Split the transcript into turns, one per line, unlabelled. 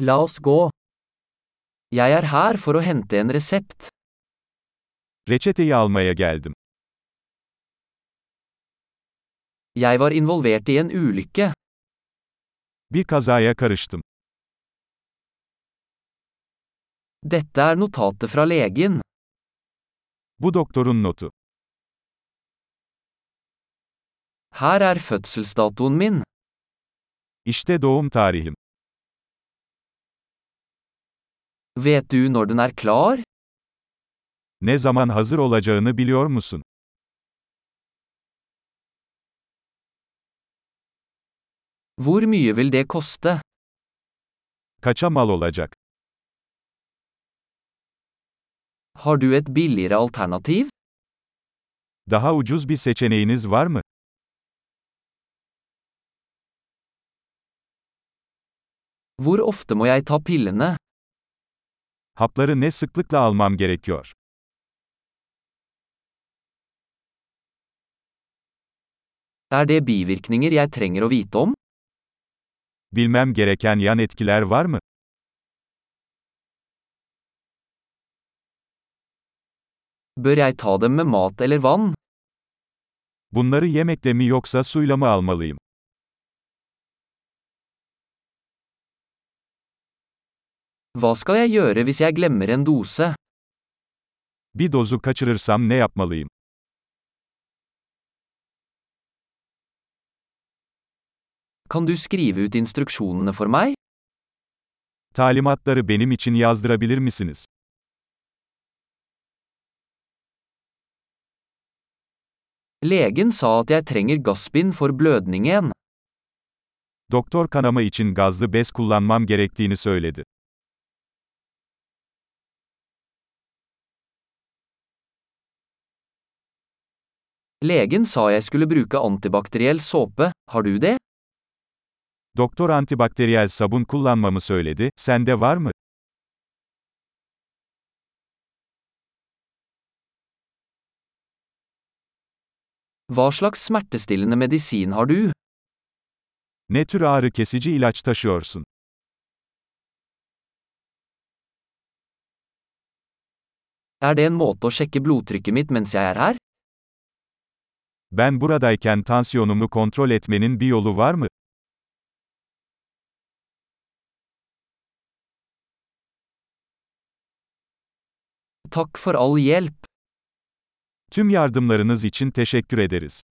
La oss gå. Jeg er her for å hente en resept.
Reçeteyi almaya geldim.
Jeg var involvert i en ulykke.
Bir kazaya karıştım.
Dette er notatet fra legen.
Bu doktorun notu.
Her er fødselsdatoen min.
İşte doğum tarihim.
Vet du når den er klar?
Ne zaman hazır olacağını biliyor musun?
Hvor mye vil det koste?
Kaça mal olacak?
Har du et billigere alternativ?
Daha ucuz bir seçeneğiniz var mı?
Hvor ofte må jeg ta pillene?
Hapları ne sıklıkla almam gerekiyor?
Er det bivirkninger jeg trenger å vite om?
Bilmem gereken yan etkiler var mı?
Bør jeg ta dem med mat eller vann?
Bunları yemekle mi yoksa suyla mı almalıyım?
Hva skal jeg gjøre hvis jeg glemmer en dose?
Bir dozu kaçırırsam ne yapmalıyım?
Kan du skrive ut instruksjonene for meg?
Talimatları benim için yazdırabilir misiniz?
Legen sa at jeg trenger gassbind for blødningen.
Doktor kanama için gazlı bez kullanmam gerektiğini söyledi.
Legen sa jeg skulle bruke antibakteriell såpe, har du det?
Doktor antibakteriyel sabun kullanmamı söyledi, sende var mı?
Hva slags smertestillende medisin har du?
Ne tür ağrı kesici ilaç taşıyorsun?
Er det en måte å sjekke blodtrykket mitt mens jeg er her?
Ben buradayken tansiyonumu kontrol etmenin bir yolu var mı?
Takk for all hjelp.
Tüm yardımlarınız için teşekkür ederiz.